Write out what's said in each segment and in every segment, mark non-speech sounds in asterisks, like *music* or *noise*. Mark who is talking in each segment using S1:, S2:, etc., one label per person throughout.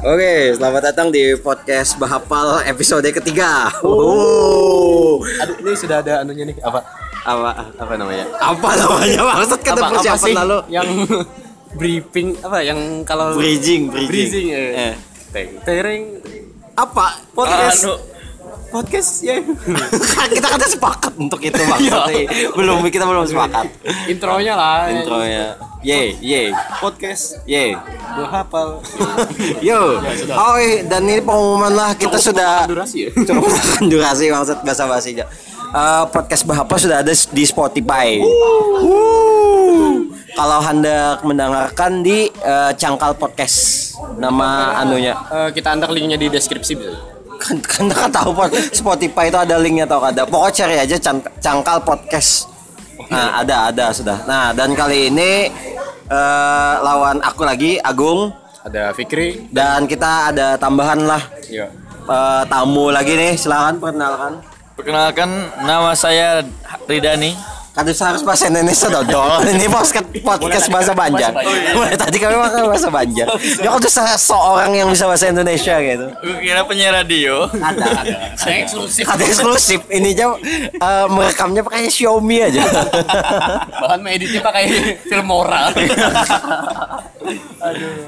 S1: Oke, selamat datang di podcast Bahapal episode ketiga.
S2: Oh. Aduh, ini sudah ada anunya nih apa? Apa apa namanya?
S1: Apa *laughs* namanya maksud kata
S2: apa, apa sih
S1: persiapan lalu?
S2: yang briefing apa yang kalau
S1: Bridging, bridging.
S2: bridging
S1: Eh.
S2: eh. Teng. Tereng
S1: Apa podcast?
S2: Anu. podcast ya
S1: Kan *laughs* kita kan sepakat untuk itu *laughs* maksudnya. belum kita belum sepakat.
S2: *laughs* intronya lah
S1: Intronya. ya. Ye, ye,
S2: podcast
S1: ye.
S2: gue hafal
S1: *laughs* Yo. Oi, dan ini pengumuman lah kita sudah
S2: durasi ya
S1: cukup menahan durasi maksud bahasa basinya. Eh, podcast Bahapa sudah ada di Spotify. Wuh. Kalau hendak mendengarkan di eh, Cangkal Podcast nama anunya.
S2: Eh, kita antar linknya di deskripsi bisa
S1: kan kan kan tahu Pod. Spotify itu ada linknya atau ada pokoknya cari aja Cang- cangkal podcast nah ada ada sudah nah dan kali ini eh, lawan aku lagi Agung
S2: ada Fikri
S1: dan kita ada tambahan lah
S2: ya
S1: eh, tamu lagi nih silakan perkenalkan
S3: Perkenalkan nama saya Ridani.
S1: Kadu harus bahasa Indonesia dodol. Ini podcast podcast bahasa Banjar. Mulai tadi kami makan bahasa Banjar. Ya kudu se- seorang yang bisa bahasa Indonesia gitu.
S3: Gue kira penyiar radio.
S1: Ada ada.
S2: saya eksklusif
S1: Ada eksklusif. Ini jauh eh, merekamnya pakai Xiaomi aja.
S2: bahan editnya pakai film *laughs* moral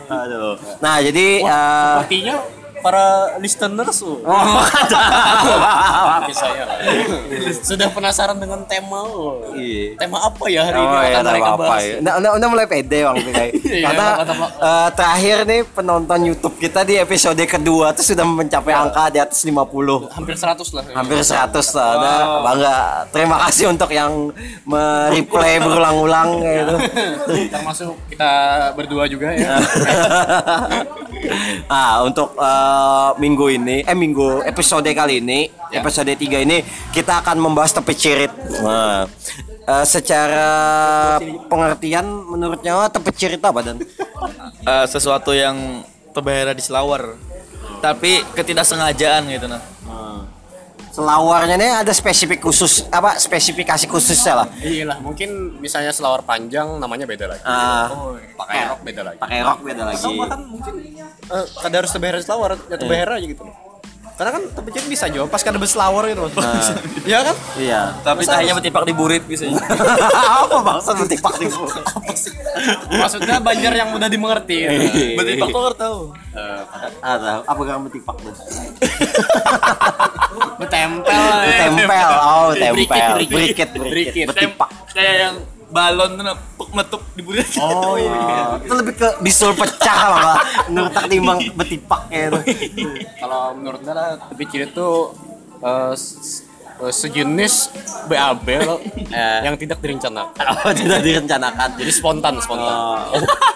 S1: Aduh. Nah, jadi eh,
S2: artinya para listeners oh.
S1: oh, ada.
S2: Oke, saya sudah penasaran dengan tema oh.
S1: Iya.
S2: tema apa ya hari ini
S1: Oh,
S2: yang
S1: ya,
S2: akan
S1: nggak
S2: mereka
S1: apa-apa
S2: bahas
S1: ya. Nah, nah, nah, mulai pede Bang Pikai.
S2: Iya,
S1: Karena
S2: kata Pak.
S1: eh, terakhir nih penonton YouTube kita di episode kedua tuh sudah mencapai angka di atas 50.
S2: hampir 100 lah
S1: hampir 100 lah ada bangga terima kasih untuk yang mereplay berulang-ulang kayak gitu
S2: termasuk kita berdua juga ya
S1: ah untuk eh, minggu ini eh minggu episode kali ini episode 3 ini kita akan membahas tepi cirit nah, eh, secara pengertian menurut nyawa tepi cirit apa dan
S3: Eh, sesuatu yang terbahera di selawar. Tapi ketidaksengajaan gitu nah.
S1: Ah. selawarnya ini ada spesifik khusus apa spesifikasi khususnya lah
S2: iya lah mungkin misalnya selawar panjang namanya beda lagi
S1: Ah.
S2: pakai rok beda lagi
S1: pakai rok beda lagi
S2: atau bahkan mungkin eh, kada harus tebehera selawar ya tebehera aja gitu loh karena kan tebejek bisa jawab pas kada berselawar gitu loh *laughs* ya kan
S1: iya
S3: Tapi tak hanya metipak di burit bisa.
S1: apa maksud metipak di mulut?
S2: maksudnya banjar yang mudah dimengerti ya.
S3: metipak kok tahu.
S1: Ada apa gak metipak tuh?
S2: Betempel eh.
S1: Tempel, oh tempel,
S2: Brikit,
S1: berikit, berikit,
S2: brikit. Brikit.
S1: metipak.
S3: Kayak yang balon tuh nah, puk metup di burit.
S1: Oh *laughs* iya, itu lebih ke bisul pecah malah menurut tak timbang metipak kayak itu.
S2: kalau menurut gue lah tepi cirit tuh eh, s- eh, sejenis BAB loh yang tidak direncanakan
S1: Oh tidak direncanakan.
S2: jadi spontan spontan *laughs*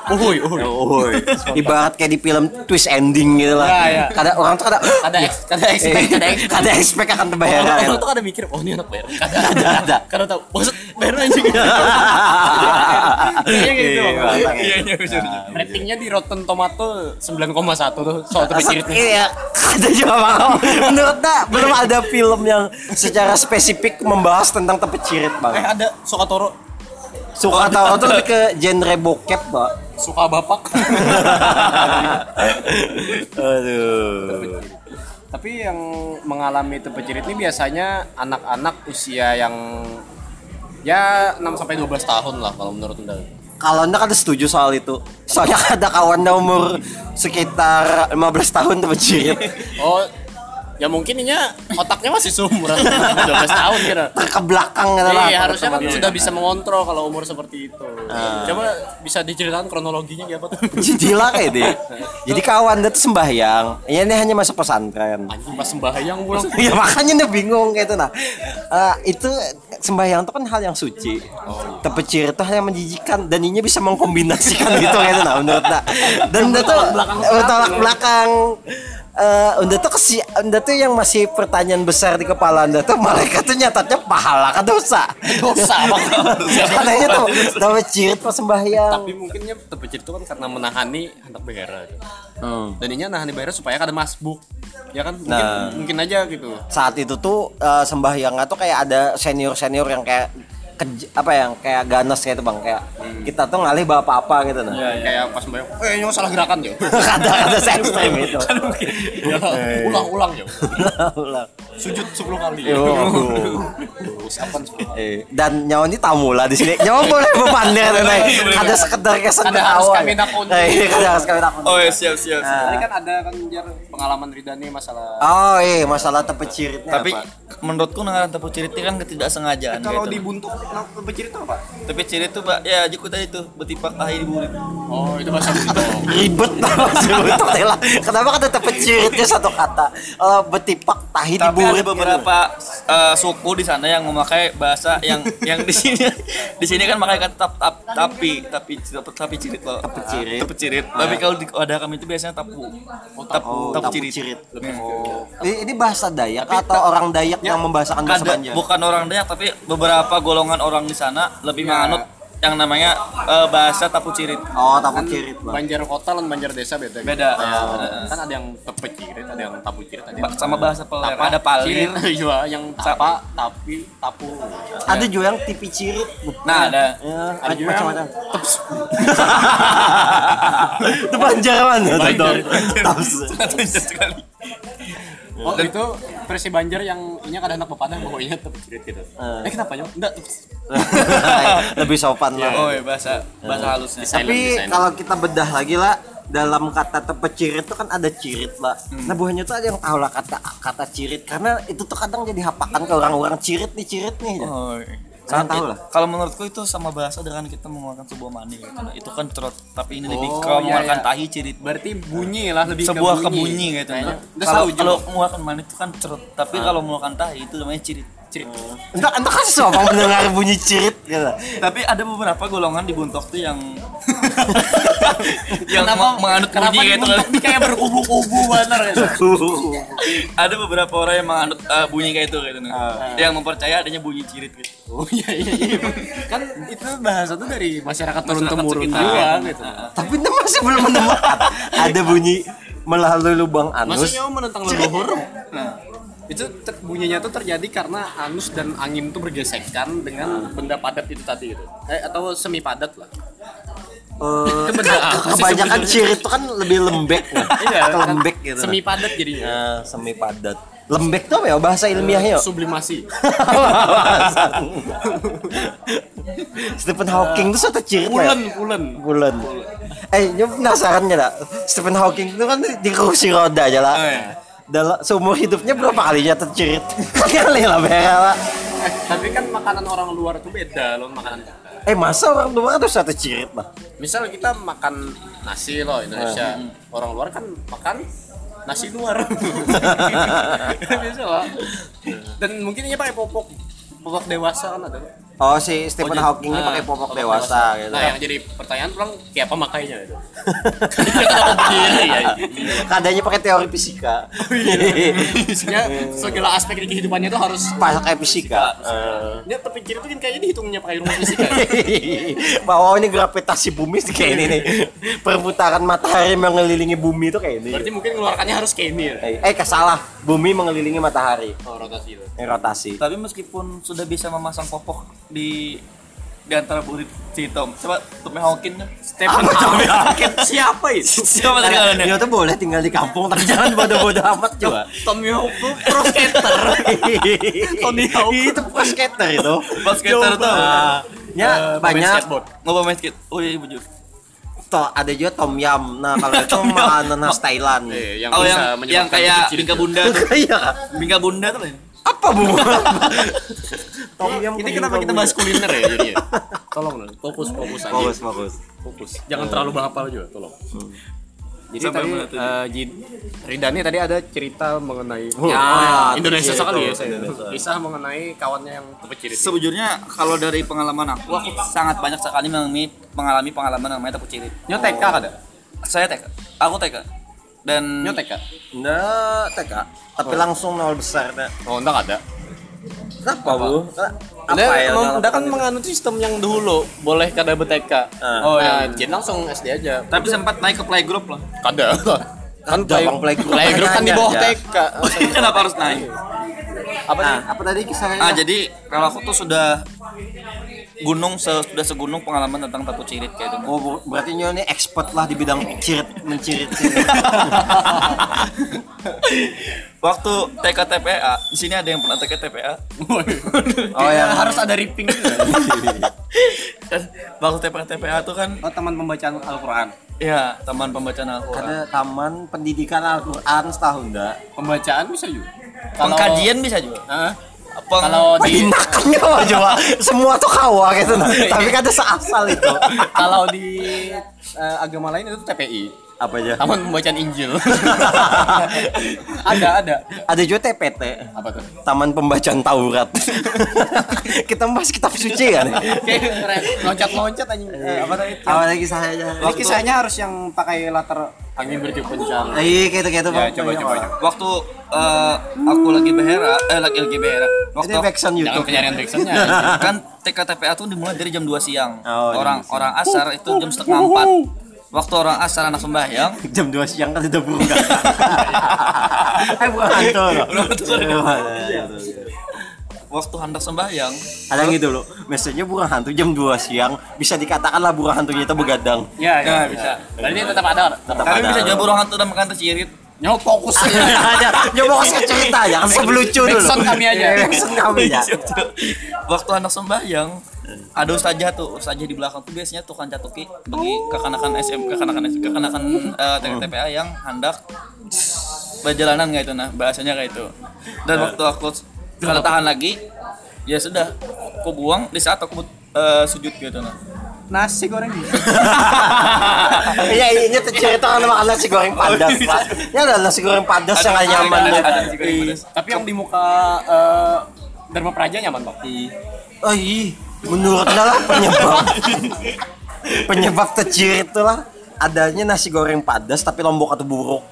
S1: Uhuy, uhuy, uhuy. Ibarat kayak di film twist ending gitu lah.
S2: Ya, ya.
S1: Kada orang tuh kada
S2: kada ex- kada expect kada
S1: eh,
S2: expect
S1: kada expect akan terbayar.
S2: orang, orang tuh kada mikir oh ini anak bayar kada
S1: ya, Ada, ada.
S2: kada tahu maksud bayar anjing Kayaknya gitu, Bang.
S3: Iya iya bener.
S2: ratingnya di Rotten Tomato 9,1 tuh soal tepi cirit nih
S1: Iya, ada juga bang. Menurut tak belum ada film yang secara spesifik membahas tentang tepi cirit
S2: eh
S1: bang.
S2: ada Sokatoro Oh,
S1: Suka tahu tuh lebih ke genre bokep pak.
S2: suka bapak
S1: Aduh.
S2: *laughs* tapi yang mengalami tepi cirit ini biasanya anak-anak usia yang ya 6 sampai 12 tahun lah kalau menurut Undang.
S1: Kalau anda kan setuju soal itu, soalnya *laughs* ada kawan anda umur sekitar 15 tahun tepi
S2: *laughs*
S1: cirit
S2: Oh, ya mungkin inya otaknya masih seumuran *laughs* 12 tahun kira.
S1: terkebelakang gitu lah.
S2: Iya, harusnya kan
S1: teman-teman.
S2: sudah bisa mengontrol kalau umur seperti itu.
S1: Ah.
S2: Coba bisa diceritakan kronologinya kayak apa
S1: *laughs*
S2: tuh?
S1: Jijila kayak deh. Jadi kawan anda tuh sembahyang, Iya, ini hanya masuk pesantren.
S2: Anjing pas sembahyang pulang.
S1: *laughs* ya makanya dia bingung kayak itu nah Eh, itu sembahyang itu kan hal yang suci tepecir itu hanya menjijikan dan ini bisa *laughs* gitu, mengkombinasikan gitu kayak itu nah menurut nah dan itu tuh bertolak belakang eh anda tuh kesi, anda tuh yang masih pertanyaan besar di kepala anda tuh malaikat tuh nyatatnya pahala kan dosa.
S2: *laughs*
S1: *laughs*
S2: Dosa, Bang.
S1: Katanya tuh dapat cirit persembahyang.
S2: tapi mungkinnya terpecit itu kan karena menahani hendak beres dan ini nahani beres supaya kada masbuk ya kan mungkin,
S1: Hmm. Nah.
S2: mungkin aja gitu
S1: Saat itu tuh eh, sembahyangnya tuh kayak ada senior senior yang kayak kej- apa ya, yang kayak ganas kayak itu bang kayak kita tuh ngalih bapak apa gitu
S3: Iya.
S1: *laughs* nah.
S2: kayak pas bayang eh nyong salah gerakan
S1: *laughs*
S2: yo
S1: ada ada se ekstrem itu.
S2: Kan mungkin. *laughs* Ya, ulang ulang yo
S1: Ulang.
S2: sujud 10 kali
S3: Iya,
S1: Yo, aduh.
S2: usapan 10 kali
S1: Eh, dan nyawa ini tamu lah di sini. Nyawa boleh berpander Nay. Ada sekedar kesan
S2: Kada harus
S1: awal.
S2: kami nakun.
S1: Eh, iya, kada harus kami nakun.
S3: Oh ya siap siap. siap.
S2: Tadi kan ada kan jar pengalaman Rida nih masalah
S1: Oh iya, masalah tepeciritnya
S3: Tapi
S1: apa?
S3: menurutku nangaran tepu cerita kan ketidaksengajaan
S2: kalau
S3: gitu.
S2: dibuntuk nah, terpecit itu apa
S3: Tapi cerita tuh Pak, ya jiku tadi tuh betipak tahi di mulut.
S2: oh itu bahasa Buntut.
S1: ribet banget *laughs* sih betul lah. Kenapa kata tepeciritnya satu kata? Eh, betipak tahi gitu.
S3: Tapi ada
S1: diburit.
S3: beberapa eh, suku di sana yang memakai bahasa yang yang di sini *laughs* di sini kan pakai kata tap tap tapi tapi tapi, tapi cirit loh. Tapi
S1: cirit.
S3: Tapi kalau di ada kami itu biasanya tapu. tapu,
S1: Oh,
S3: tapu,
S1: tapu
S3: cirit.
S1: cirit. Oh.
S3: Hmm.
S1: Ini, ini bahasa Dayak atau orang Dayak yang membahasakan bahasa
S3: Kada,
S1: Banjar?
S3: bukan orang Dayak tapi beberapa golongan orang di sana lebih
S2: Iya.
S3: menganut yang namanya eh, bahasa tapu cirit.
S1: Oh, tapu cirit, Bang.
S2: Banjar kota dan Banjar desa beda. gitu.
S3: Beda. Ah.
S2: Ya,
S3: Heeh.
S2: kan ada yang tepecirit, ada yang tapu cirit, ada yang
S3: Ba- sama bahasa peler. Ada ya? palir.
S2: Cirit, *laughs* Iya, yang tapa, tapi tapu.
S1: Ada juga yang tipi cirit.
S3: Nah, ada
S1: Ya,
S2: Ada juga yang
S1: macam-macam. *laughs* Itu Banjar mana?
S2: Banjar.
S1: Tahu.
S3: Sangat *laughs* sekali.
S2: Oh, itu versi Banjar yang ini kan ada anak pepadang pokoknya tepecirit gitu.
S3: Ah.
S2: Eh, kenapa nyok? Enggak.
S1: *laughs* lebih sopan
S2: Iya.
S1: lah.
S3: Oh, ya bahasa bahasa halusnya.
S1: Tapi kalau kita bedah lagi lah dalam kata tepecirit itu kan ada cirit lah. Nah buahnya tuh ada yang tahu lah kata kata cirit karena itu tuh kadang jadi hapakan ke orang-orang cirit nih cirit nih.
S3: Oh,
S1: Kalian
S3: Saat
S1: tahu
S3: it-
S1: lah.
S3: Kalau menurutku itu sama bahasa dengan kita mengeluarkan sebuah mani gitu. Nah, itu kan trot, tapi ini lebih
S2: Oh,
S3: ke
S2: iya,
S3: mengeluarkan
S2: iya.
S3: tahi cirit.
S2: Berarti bunyi lah lebih
S3: sebuah kebunyi gitu.
S2: Kayaknya.
S3: Nah,
S2: Udah Ah.
S3: Kalau
S2: tahu
S3: kalau
S2: kalau
S3: mengeluarkan mani itu kan trot, tapi kalau mengeluarkan tahi itu namanya cirit. Cirit.
S2: Oh.
S1: Entah entah kan sopan mendengar bunyi cirit gitu.
S3: Tapi ada beberapa golongan di Buntok tuh
S2: *laughs*
S3: yang yang me- menganut bunyi
S2: Kenapa
S3: gitu.
S2: dibuntuk nih
S3: *laughs*
S2: kayak berubu-ubu bener gitu.
S3: Ada beberapa orang yang menganut eh, bunyi kayak itu gitu. nah.
S2: Ah.
S3: Yang mempercaya adanya bunyi cirit gitu.
S2: Oh iya iya iya. Kan itu bahasa tuh dari masyarakat turun
S3: Masyarakat
S2: temurun
S3: sekitar. Ah.
S2: juga gitu.
S1: Tapi itu masih belum menemukan ada bunyi melalui lubang anus.
S2: Maksudnya om menentang leluhur? Nah, itu ter- bunyinya tuh terjadi karena anus dan angin tuh bergesekan dengan benda padat itu tadi gitu. Eh, atau semi padat lah.
S1: Eh,
S2: Itu benar.
S1: kebanyakan *laughs* cirit itu kan lebih lembek, kan? Atau
S2: kan?
S1: lembek gitu.
S2: Semi padat jadinya.
S1: Eh, semi padat. Lembek tuh apa ya bahasa ilmiahnya? yuk? *laughs*
S2: Sublimasi.
S1: Stephen Hawking itu suatu cirit ya?
S2: Pulen, pulen.
S1: bulan. Eh, ini penasaran nggak, lah. Stephen Hawking itu kan di kursi roda aja lah.
S3: Oh, iya.
S1: Dalam seumur hidupnya berapa kalinya tercirit? *laughs* Kali lah Bera lah.
S2: Eh, tapi kan makanan orang luar tuh beda loh makanan kita.
S1: Eh masa orang luar tuh satu cirit lah.
S2: Misal kita makan nasi
S1: Ah.
S2: loh Indonesia. Orang luar kan makan nasi luar.
S1: *laughs*
S2: Biasa lah. Dan mungkin ini pakai popok. Popok dewasa kan ada. loh.
S1: Oh si Stephen
S2: jadi-
S1: Hawking ini
S2: ah,
S1: pakai popok dewasa gitu. *laughs*
S2: Nah, yang jadi pertanyaan pulang siapa makainya gitu? itu? Kenapa begini ya?
S1: Kadangnya pakai teori fisika. *laughs*
S2: Ya,
S1: Hmm.
S2: segala aspek di kehidupannya itu harus
S1: Pakai fisika. Eh. *laughs*
S2: Ya, tapi kiri itu kan kayaknya dihitungnya pakai rumus fisika.
S1: Bahwa ini gravitasi bumi sih kayak ini nih. Perputaran matahari mengelilingi bumi itu kayak ini.
S2: Berarti mungkin ngeluarkannya harus kayak ini ya.
S1: Eh, eh kesalah, bumi mengelilingi matahari.
S2: Oh, rotasi itu.
S1: Ini rotasi.
S3: Tapi meskipun sudah bisa memasang popok di di antara murid si Tom, coba Tom Hawking kan?
S2: Stephen
S1: Apa
S2: *laughs*
S1: Tom
S2: Hawking?
S1: *laughs* Hawking?
S2: Siapa itu?
S3: Siapa tadi
S1: Karena
S3: kalian?
S1: Dia tuh Nah, ya boleh tinggal di kampung tapi jangan bodoh-bodoh amat coba.
S2: Tommy Hawking pro skater. *laughs* Tony Hawk.
S1: itu pro skater itu.
S3: Pro skater tuh.
S1: Nah, Ya
S2: Eh, pemain
S1: banyak
S2: skateboard.
S3: Ngobrol main skate. Oh iya bujur.
S1: toh ada juga tom yam. Nah
S2: *laughs*
S1: kalau itu
S3: Tom yum.
S1: makanan khas Thailand.
S2: Eh,
S3: Yang oh yang yang kayak bingka bunda tuh.
S2: *laughs*
S1: Iya.
S3: Bingka bunda tuh. Len.
S1: Apa bu? tom yam.
S2: Ini kenapa kita bahas kuliner ya jadinya? Tolong dong, fokus fokus aja.
S1: Fokus fokus.
S2: fokus. Jangan terlalu bahapal juga, tolong. Jadi Hmm.
S3: Sampai
S2: tadi
S3: mana tadi?
S2: eh, Jid- Ridani tadi ada cerita mengenai
S1: Ah,
S2: Ya, Indonesia
S1: iya,
S2: sekali
S1: iya,
S2: ya saya. Kisah mengenai kawannya yang terpecirit.
S3: Sejujurnya kalau dari pengalaman aku, aku sangat banyak sekali mengalami mengalami pengalaman namanya takut cirit.
S2: Nyo TK kada?
S3: Saya TK. Aku TK. dan
S2: nyotek ya?
S1: Nggak, TK. Nah, Tapi langsung nol besar, Nak.
S2: Oh, enggak ada.
S1: Kenapa, Bu? Nah, Apa
S2: Anda,
S1: ya?
S2: emang-
S1: nol
S2: Anda kan
S1: apa?
S2: menganut sistem yang dahulu boleh kada berteka.
S1: Ah.
S2: Oh ya, jadi langsung SD aja.
S3: tapi sempat naik ke playgroup lah
S2: *laughs* Kada.
S1: Ada,
S2: kan
S1: Bang, playgroup.
S2: playgroup. Playgroup kan di bawah
S1: Ada.
S2: TK.
S3: *laughs* kenapa harus naik
S2: Apa
S1: Nah,
S2: sih?
S1: apa tadi kisahnya?
S3: ah jadi kalau aku tuh sudah gunung se- sudah segunung pengalaman tentang tato cirit kayak gitu. itu
S1: Oh, ber- berarti Nyo ini expert lah di bidang cirit, mencirit. cirit.
S3: waktu TKTPA di sini ada yang pernah TKTPA
S1: *laughs* Oh, yang-
S2: harus ada ripping.
S3: Kan, *laughs* waktu TKTPA tuh kan
S2: oh, teman pembacaan Al-Qur'an.
S3: ya taman pembacaan Al-Quran
S1: Ada taman pendidikan Al-Quran setahun, Ndak.
S2: Pembacaan bisa juga. Kalau-
S3: pengkajian bisa juga
S2: Hah?
S3: Peng-
S2: Kalau Oh, di
S1: Pindahkannya coba. Semua tuh kawa gitu.
S2: *laughs*
S1: Nah. Tapi kan ada seasal itu.
S2: kalau di eh, agama lain itu TPI.
S1: Apa aja?
S2: Taman pembacaan Injil. *laughs* ada, ada.
S1: Ada juga TPT.
S2: Apa tuh?
S1: Taman Pembacaan
S2: *laughs*
S1: Taurat. kita membahas kitab suci kan?
S2: Kayak loncat-loncat anjing. Eh, apa tadi?
S1: Apa lagi kisahnya aja?
S2: Ini kisahnya harus yang pakai latar angin bertiup kencang.
S1: Iya, gitu gitu
S2: Ya, coba, coba, coba.
S3: waktu eh, aku lagi behera eh lagi lagi behera waktu
S1: Ini backsound
S2: Jangan
S1: YouTube.
S2: pencarian *laughs* backsoundnya.
S3: kan TKTPA tuh dimulai dari jam 2 siang
S1: Oh, jam
S3: orang
S1: 2 siang.
S3: orang asar itu jam setengah empat waktu orang asar anak sembahyang
S1: Jam 2 siang kan udah burung kakak. Eh bukan hantu. Eh,
S3: waktu hendak sembahyang
S1: Ada yang gitu loh. Message-nya burung hantu jam 2 siang bisa dikatakanlah burung hantunya itu begadang.
S2: Ya, ya,
S3: Nah,
S2: bisa. Berarti tetap ada. Tetap.
S1: Tetap
S3: tapi
S1: ada.
S3: bisa juga burung hantu dan makan tercirit
S2: Nyok fokus.
S1: *laughs*
S2: *laughs*
S1: Ada. Coba kasih cerita ya, kan sebelucu dulu.
S2: Backsound kami aja.
S1: Iya, *laughs* Backsound kami
S3: *laughs*
S1: ya.
S3: waktu hendak sembahyang ada ustazah tuh ustazah di belakang tuh biasanya tukang catuki bagi kekanak-kanakan SM kekanak-kanakan SM, kekanak-kanakan eh, TKTPA yang hendak perjalanan kayak itu nah bahasanya kayak itu dan waktu aku kalau tahan lagi ya sudah aku buang di saat aku eh, sujud gitu nah
S2: Nasi goreng.
S1: Iya, ini tuh cerita kan makan nasi goreng padas lah. Ini ada nasi goreng padas yang gak nyaman
S3: ada,
S1: deh.
S3: ada nasi goreng pedas.
S2: Iya. Tapi yang di muka eh, Dharma Praja nyaman, Bang.
S1: Oh iya, menurutnya lah penyebab penyebab tercirit itu lah adanya nasi goreng padas tapi lombok atau buruk.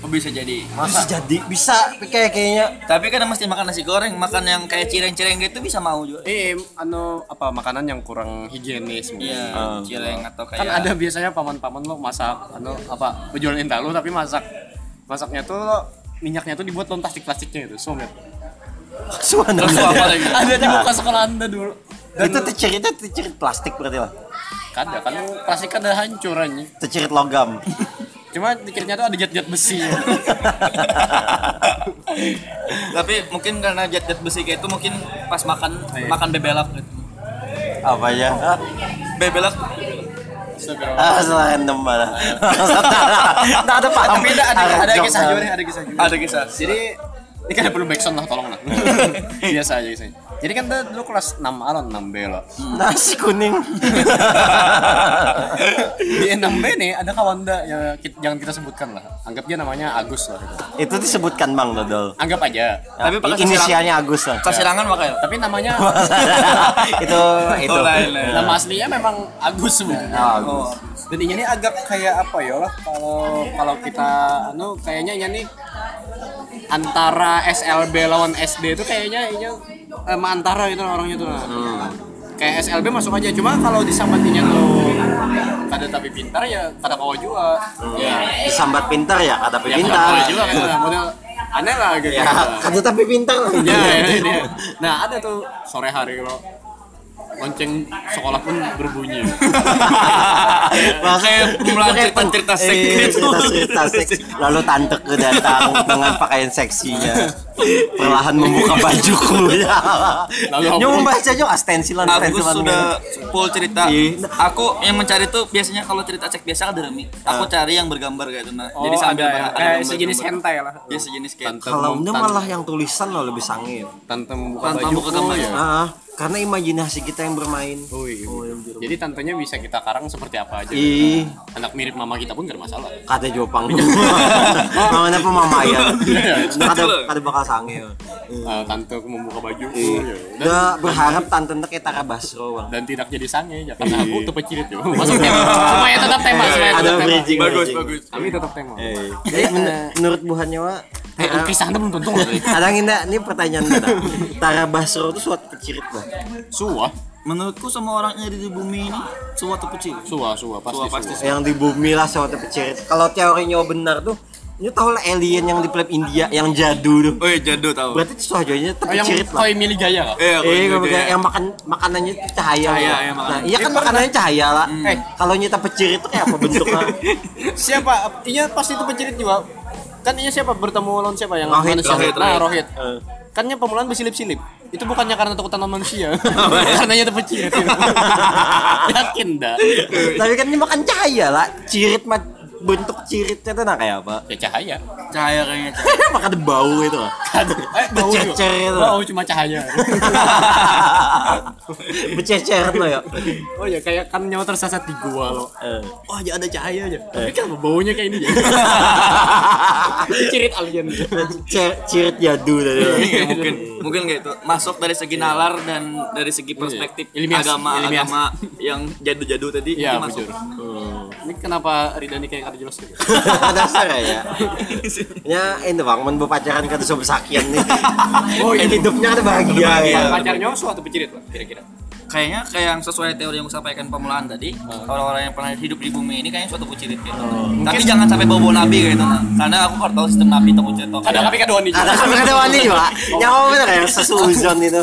S3: Oh, bisa jadi
S1: Bisa jadi bisa kayak kayaknya
S3: tapi kan mesti makan nasi goreng makan yang kayak cireng-cireng gitu bisa mau juga
S2: Eh, anu apa makanan yang kurang higienis mungkin.
S3: iya
S1: Ah.
S3: cireng atau kayak
S2: Kan ada biasanya paman-paman lo masak anu apa penjualan indah lo tapi masak masaknya tuh lo, minyaknya tuh dibuat dalam plastik-plastiknya itu. *laughs* Somet.
S1: suan
S3: Terus apa lagi?
S2: Ada di muka sekolah Anda dulu.
S1: Nah, Itu terciritnya tercirit plastik berarti lah.
S2: Kada kan plastik kada hancur anjing.
S1: Tercirit logam.
S2: Cuma dikirnya tuh ada jat-jat besi.
S3: tapi mungkin karena jet jet besi kayak itu mungkin pas makan
S2: Oh, iya.
S3: makan bebelak gitu
S1: Apa ya?
S3: bebelak
S2: Astagfirullah.
S1: Ah, salah random malah. Nggak ada paham.
S2: Tapi ada ada, ada
S1: Jok,
S2: kisah
S1: nah.
S2: juga nih, ada kisah juga.
S3: ada kisah
S2: Jadi ini kan perlu backsound lah tolong lah. Biasa aja kisahnya. Jadi kan tuh dulu kelas 6 A lah 6 B lah.
S1: Nasi kuning.
S2: Di 6 B nih ada kawan dah ya, kit- jangan kita sebutkan lah. Anggap dia namanya Agus lah gitu.
S1: itu disebutkan Bang Dodol.
S2: Anggap aja.
S3: Tapi pakai sisiran.
S1: inisialnya Agus lah.
S2: ya.
S3: kasirangan makanya
S2: Tapi namanya
S1: *laughs* itu itu.
S3: ya? Oh, lain, lain.
S2: nama aslinya memang Agus sebenarnya.
S1: Oh, Agus.
S3: oh
S2: Dan ini nih agak kayak apa ya lah kalau kalau kita anu kayaknya ini nih antara SLB lawan SD itu kayaknya ini em, antara gitu lah orangnya tuh. lah.
S1: Hmm.
S2: Kayak SLB masuk aja cuma kalau disambatinya tuh kada tapi pintar ya kada kawa juga. Ya.
S1: Disambat pintar ya, kata tapi Hmm.
S2: Ya,
S1: pintar.
S2: kawa juga kan lah, model aneh lah gitu.
S1: Ya, kata tapi pintar.
S2: Ya, ya,
S1: iya.
S2: ya. Nah, ada tuh sore hari kalau lonceng sekolah pun berbunyi.
S1: Maksudnya
S3: kumpulan cerita-cerita seks gitu.
S1: Eh, iya, cerita seks. Lalu tante ku datang dengan pakaian seksinya. Perlahan membuka bajuku ya.
S2: Lalu aku-
S1: Nyum baca juga stensilan
S3: Agus
S1: stensilan.
S3: sudah full cerita.
S1: Iya.
S3: Aku yang mencari tuh biasanya kalau cerita cek biasa ada demi. Aku cari yang bergambar kayak itu nah. Jadi
S2: Ah. Oh,
S3: sambil
S2: ada ya.
S3: ada
S2: Kayak
S3: gambar-
S2: sejenis
S3: gambar.
S2: hentai lah.
S3: Iya, sejenis kayak.
S2: Tante
S1: Kalau
S2: mem-
S1: ini
S2: tan-
S1: malah yang tulisan loh lebih sangit.
S2: tante membuka
S3: Tante
S2: baju
S3: membuka gambar.
S2: ya.
S1: Ah, karena imajinasi kita yang bermain.
S2: Oh,
S1: Oh,
S2: iya,
S1: iya.
S2: Jadi tantenya bisa kita karang seperti apa aja.
S1: Ih,
S2: Anak mirip mama kita pun gak ada masalah.
S1: kata Jopang. *laughs* Namanya pemamaian. Kata kata bakal sange. ya.
S2: Eh, tante membuka baju. Iya. Dan,
S1: Udah berharap tante ente kayak Tara Basro, Bang.
S2: dan tidak jadi sange ya karena aku tetap cirit yo. Masuk tema. Supaya tetap tema, supaya
S1: Ada
S2: tetap tema.
S1: bridging.
S3: bagus
S1: bridging.
S3: bagus
S2: Kami tetap tema.
S1: Eh, Jadi men- menurut Bu Hanyawa,
S2: Eh, kisah anda belum tentu loh. tadi.
S1: ada enggak ini pertanyaan Tara. Tara Basro itu suatu pecirit, Bang.
S2: Suah,
S3: menurutku semua orang yang ada di bumi ini suatu kecil
S2: suah, suah, pasti,
S3: Suah,
S2: suah.
S3: pasti
S1: yang di bumi lah suatu pecirit. Kalau teorinya benar tuh, ini tau lah alien yang di film India yang jadu tuh.
S3: oh iya jadu tau
S1: Berarti itu suajonya tuh
S2: Oh, yang
S1: pecirit lah.
S2: koi milih gaya kak?
S3: eh
S1: Eh,
S3: kalau
S1: kalau
S3: jadu
S1: kayak
S3: ya.
S1: yang makan makanannya tuh cahaya.
S3: Cahaya,
S1: loh.
S3: ya, makan.
S1: nah, iya kan makanannya cahaya lah. Eh, kalau nyita pecirit tuh kayak apa bentuknya?
S2: Siapa? Iya pasti itu pencerit juga. Kan iya siapa bertemu lawan siapa yang
S1: Rohit,
S2: manusia?
S1: Rohit,
S2: nah,
S1: Rohit.
S2: Rohit. Kan Kannya pemulaan bersilip-silip. Itu bukannya karena takutan sama
S1: *laughs* ya?
S2: manusia. *laughs* karena itu pencerit. Yakin dah.
S1: Tapi kan ini makan cahaya lah. Cirit mah bentuk ciritnya tuh nah kayak apa? *laughs*
S2: Ya cahaya.
S3: cahaya kayaknya cahaya.
S1: makan bau gitu. itu *laughs* lah.
S2: Eh, *laughs* bau juga.
S1: Bececer itu.
S2: Bau cuma cahaya. *laughs*
S1: Bececeran lo ya.
S2: Oh ya kayak kan nyawa tersesat di gua lo.
S1: Eh.
S2: Oh ya ada cahaya aja.
S1: *laughs*
S2: Tapi kan baunya kayak ini ya. Pencerit alien.
S1: Cer- cirit jadu tadi. lo. *laughs*
S3: Iya, mungkin mungkin kayak itu masuk dari segi nalar dan dari segi perspektif
S2: Iya. Ilmiah.
S3: agama
S2: Ilmiah.
S3: agama yang jadu-jadu tadi
S2: Iya,
S3: itu masuk
S2: bujur. Ini kenapa Ridani kayak kada jelas gitu?
S1: Dasar ya. Ya ini bang, men berpacaran kan tuh sakian nih. Oh, hidupnya ada bahagia ya.
S2: Pacarnya suatu pencerit lah kira-kira.
S3: kayaknya kayak yang sesuai teori yang saya sampaikan pemulaan tadi orang-orang yang pernah hidup di bumi ini kayaknya suatu kucirit gitu tapi jangan sampai bawa nabi kayak gitu nah. karena aku kurang tahu sistem nabi atau kucirit atau
S2: Iya. Ada tapi kadoan nih.
S1: Ada kan ada wani juga. Nyawa bener ya sesuzon itu.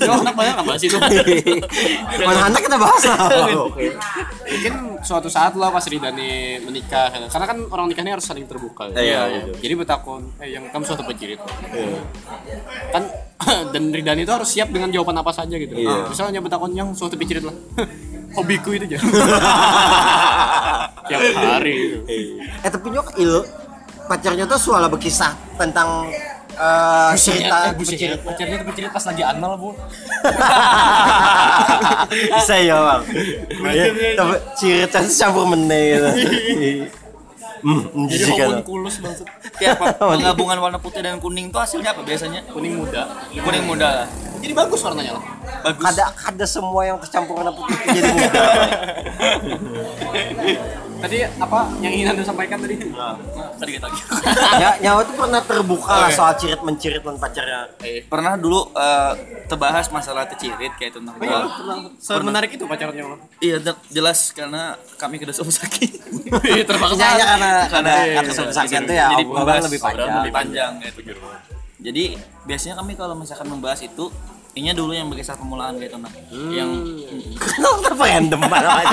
S2: Yo, anak banyak nggak bahas itu.
S1: *laughs* Mana anak kita bahas lah. *laughs* Oke.
S2: Mungkin suatu saat lah pas Ridani menikah, karena kan orang nikah ini harus saling terbuka. ya.
S1: Iya, iya.
S2: Jadi betakon, eh, yang kamu suatu pencerit. Kan *clears throat* dan Ridani itu harus siap dengan jawaban apa saja gitu.
S1: Iya.
S2: Misalnya betakon yang suatu pencerit lah. *laughs* Hobiku itu aja. Tiap hari. Gitu.
S1: Eh tapi nyok il pacarnya tuh suara berkisah tentang eh, cerita
S2: pencerit. Pacarnya itu pencerit pas lagi anal, Bu.
S1: *laughs* Bisa ya bang. Ya, Tapi cerita campur meneh gitu. Hmm,
S2: Jadi
S1: menjijikan.
S2: homun kulus banget.
S3: kayak
S2: *laughs*
S3: apa penggabungan warna putih dan kuning itu hasilnya apa biasanya
S2: Kuning muda.
S3: kuning muda lah
S2: Jadi bagus warnanya lah.
S3: bagus
S1: Ada ada semua yang tercampur warna putih itu jadi muda.
S2: Tadi apa yang ingin Anda sampaikan tadi?
S3: Nah, sedikit
S2: *laughs*
S3: lagi
S1: Ya, nyawa tuh pernah terbuka lah
S3: Oke.
S1: soal cirit mencirit dan pacarnya.
S3: pernah dulu eh, terbahas masalah tecirit kayak tentang
S2: Oh, iya? Semenarik itu pacarnya *laughs* lo.
S3: Iya de- jelas karena kami kedua sama sakit. *laughs*
S2: Iya, Terpaksa.
S1: Ya, ya karena karena
S3: Iya,
S1: karena
S3: iya,
S1: kesakitan
S3: iya.
S1: tuh ya
S3: Jadi
S1: obrolan
S3: pembahas-
S1: lebih panjang.
S3: obrolan lebih panjang, kayak gitu. Jadi biasanya kami kalau misalkan membahas itu ini dulu yang berkisar pemulaan kayak itu nah.
S2: Hmm.
S3: Yang
S2: Iya.
S1: Kenapa random banget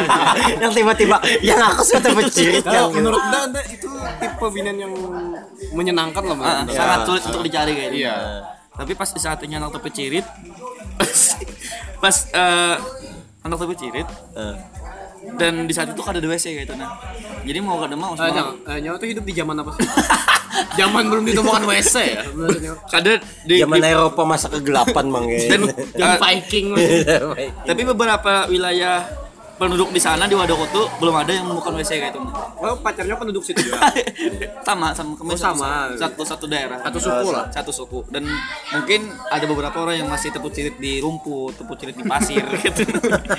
S1: Yang tiba-tiba yang aku sudah mencirit
S2: Iya, Kalau
S1: yang
S2: menurut Anda, Anda itu tipe binan yang menyenangkan lah menurut
S3: ah,
S2: Anda.
S3: sangat sulit untuk dicari kayak gitu.
S2: Iya.
S3: Tapi pas di saatnya anak topi cirit pas eh, anak topi cirit
S1: Eh.
S3: dan di saat itu kada ada WC kayak itu nah. Jadi mau kada
S2: Eh,
S3: mau semua-
S2: Jang, eh, nyawa tuh hidup di zaman apa
S1: *laughs*
S2: sih? zaman belum ditemukan WC ya. Maksudnya.
S3: kada
S2: eh,
S3: di,
S1: zaman
S3: di-
S1: Eropa masa kegelapan bang ya.
S3: dan
S2: Zaman
S3: eh,
S1: *laughs*
S2: Viking. maksudnya.
S3: Tapi beberapa wilayah penduduk di sana di Wadokoto belum ada yang menemukan WC
S2: *laughs*
S3: kayak itu.
S2: Oh, pacarnya penduduk situ ya? juga.
S3: sama sama kami
S2: Oh,
S3: satu-
S2: sama.
S3: Satu satu daerah.
S2: Satu suku lah.
S3: Satu suku dan mungkin ada beberapa orang yang masih terpucirit di rumput, terpucirit di pasir *laughs* gitu.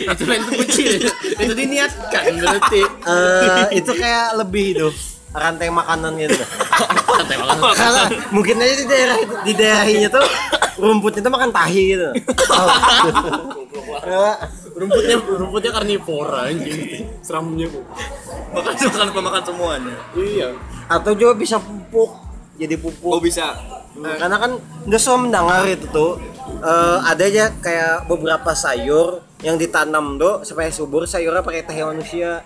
S2: itu lain itu kecil. itu diniatkan berarti.
S1: Eh, itu kayak lebih itu rantai makanan gitu.
S2: Santai banget.
S1: Karena mungkin aja di daerah di daerahnya tuh rumputnya tuh makan tahi
S2: *laughs*
S1: gitu. Eh,
S2: Rumputnya rumputnya karnivora anjing. Seramnya Bu.
S3: Makan makan pemakan semuanya.
S2: Iya.
S1: Atau juga bisa pupuk jadi pupuk.
S3: Oh bisa.
S1: Nah, karena kan udah semua mendengar itu tuh eh, ada aja kayak beberapa sayur yang ditanam tuh supaya subur sayurnya pakai teh manusia.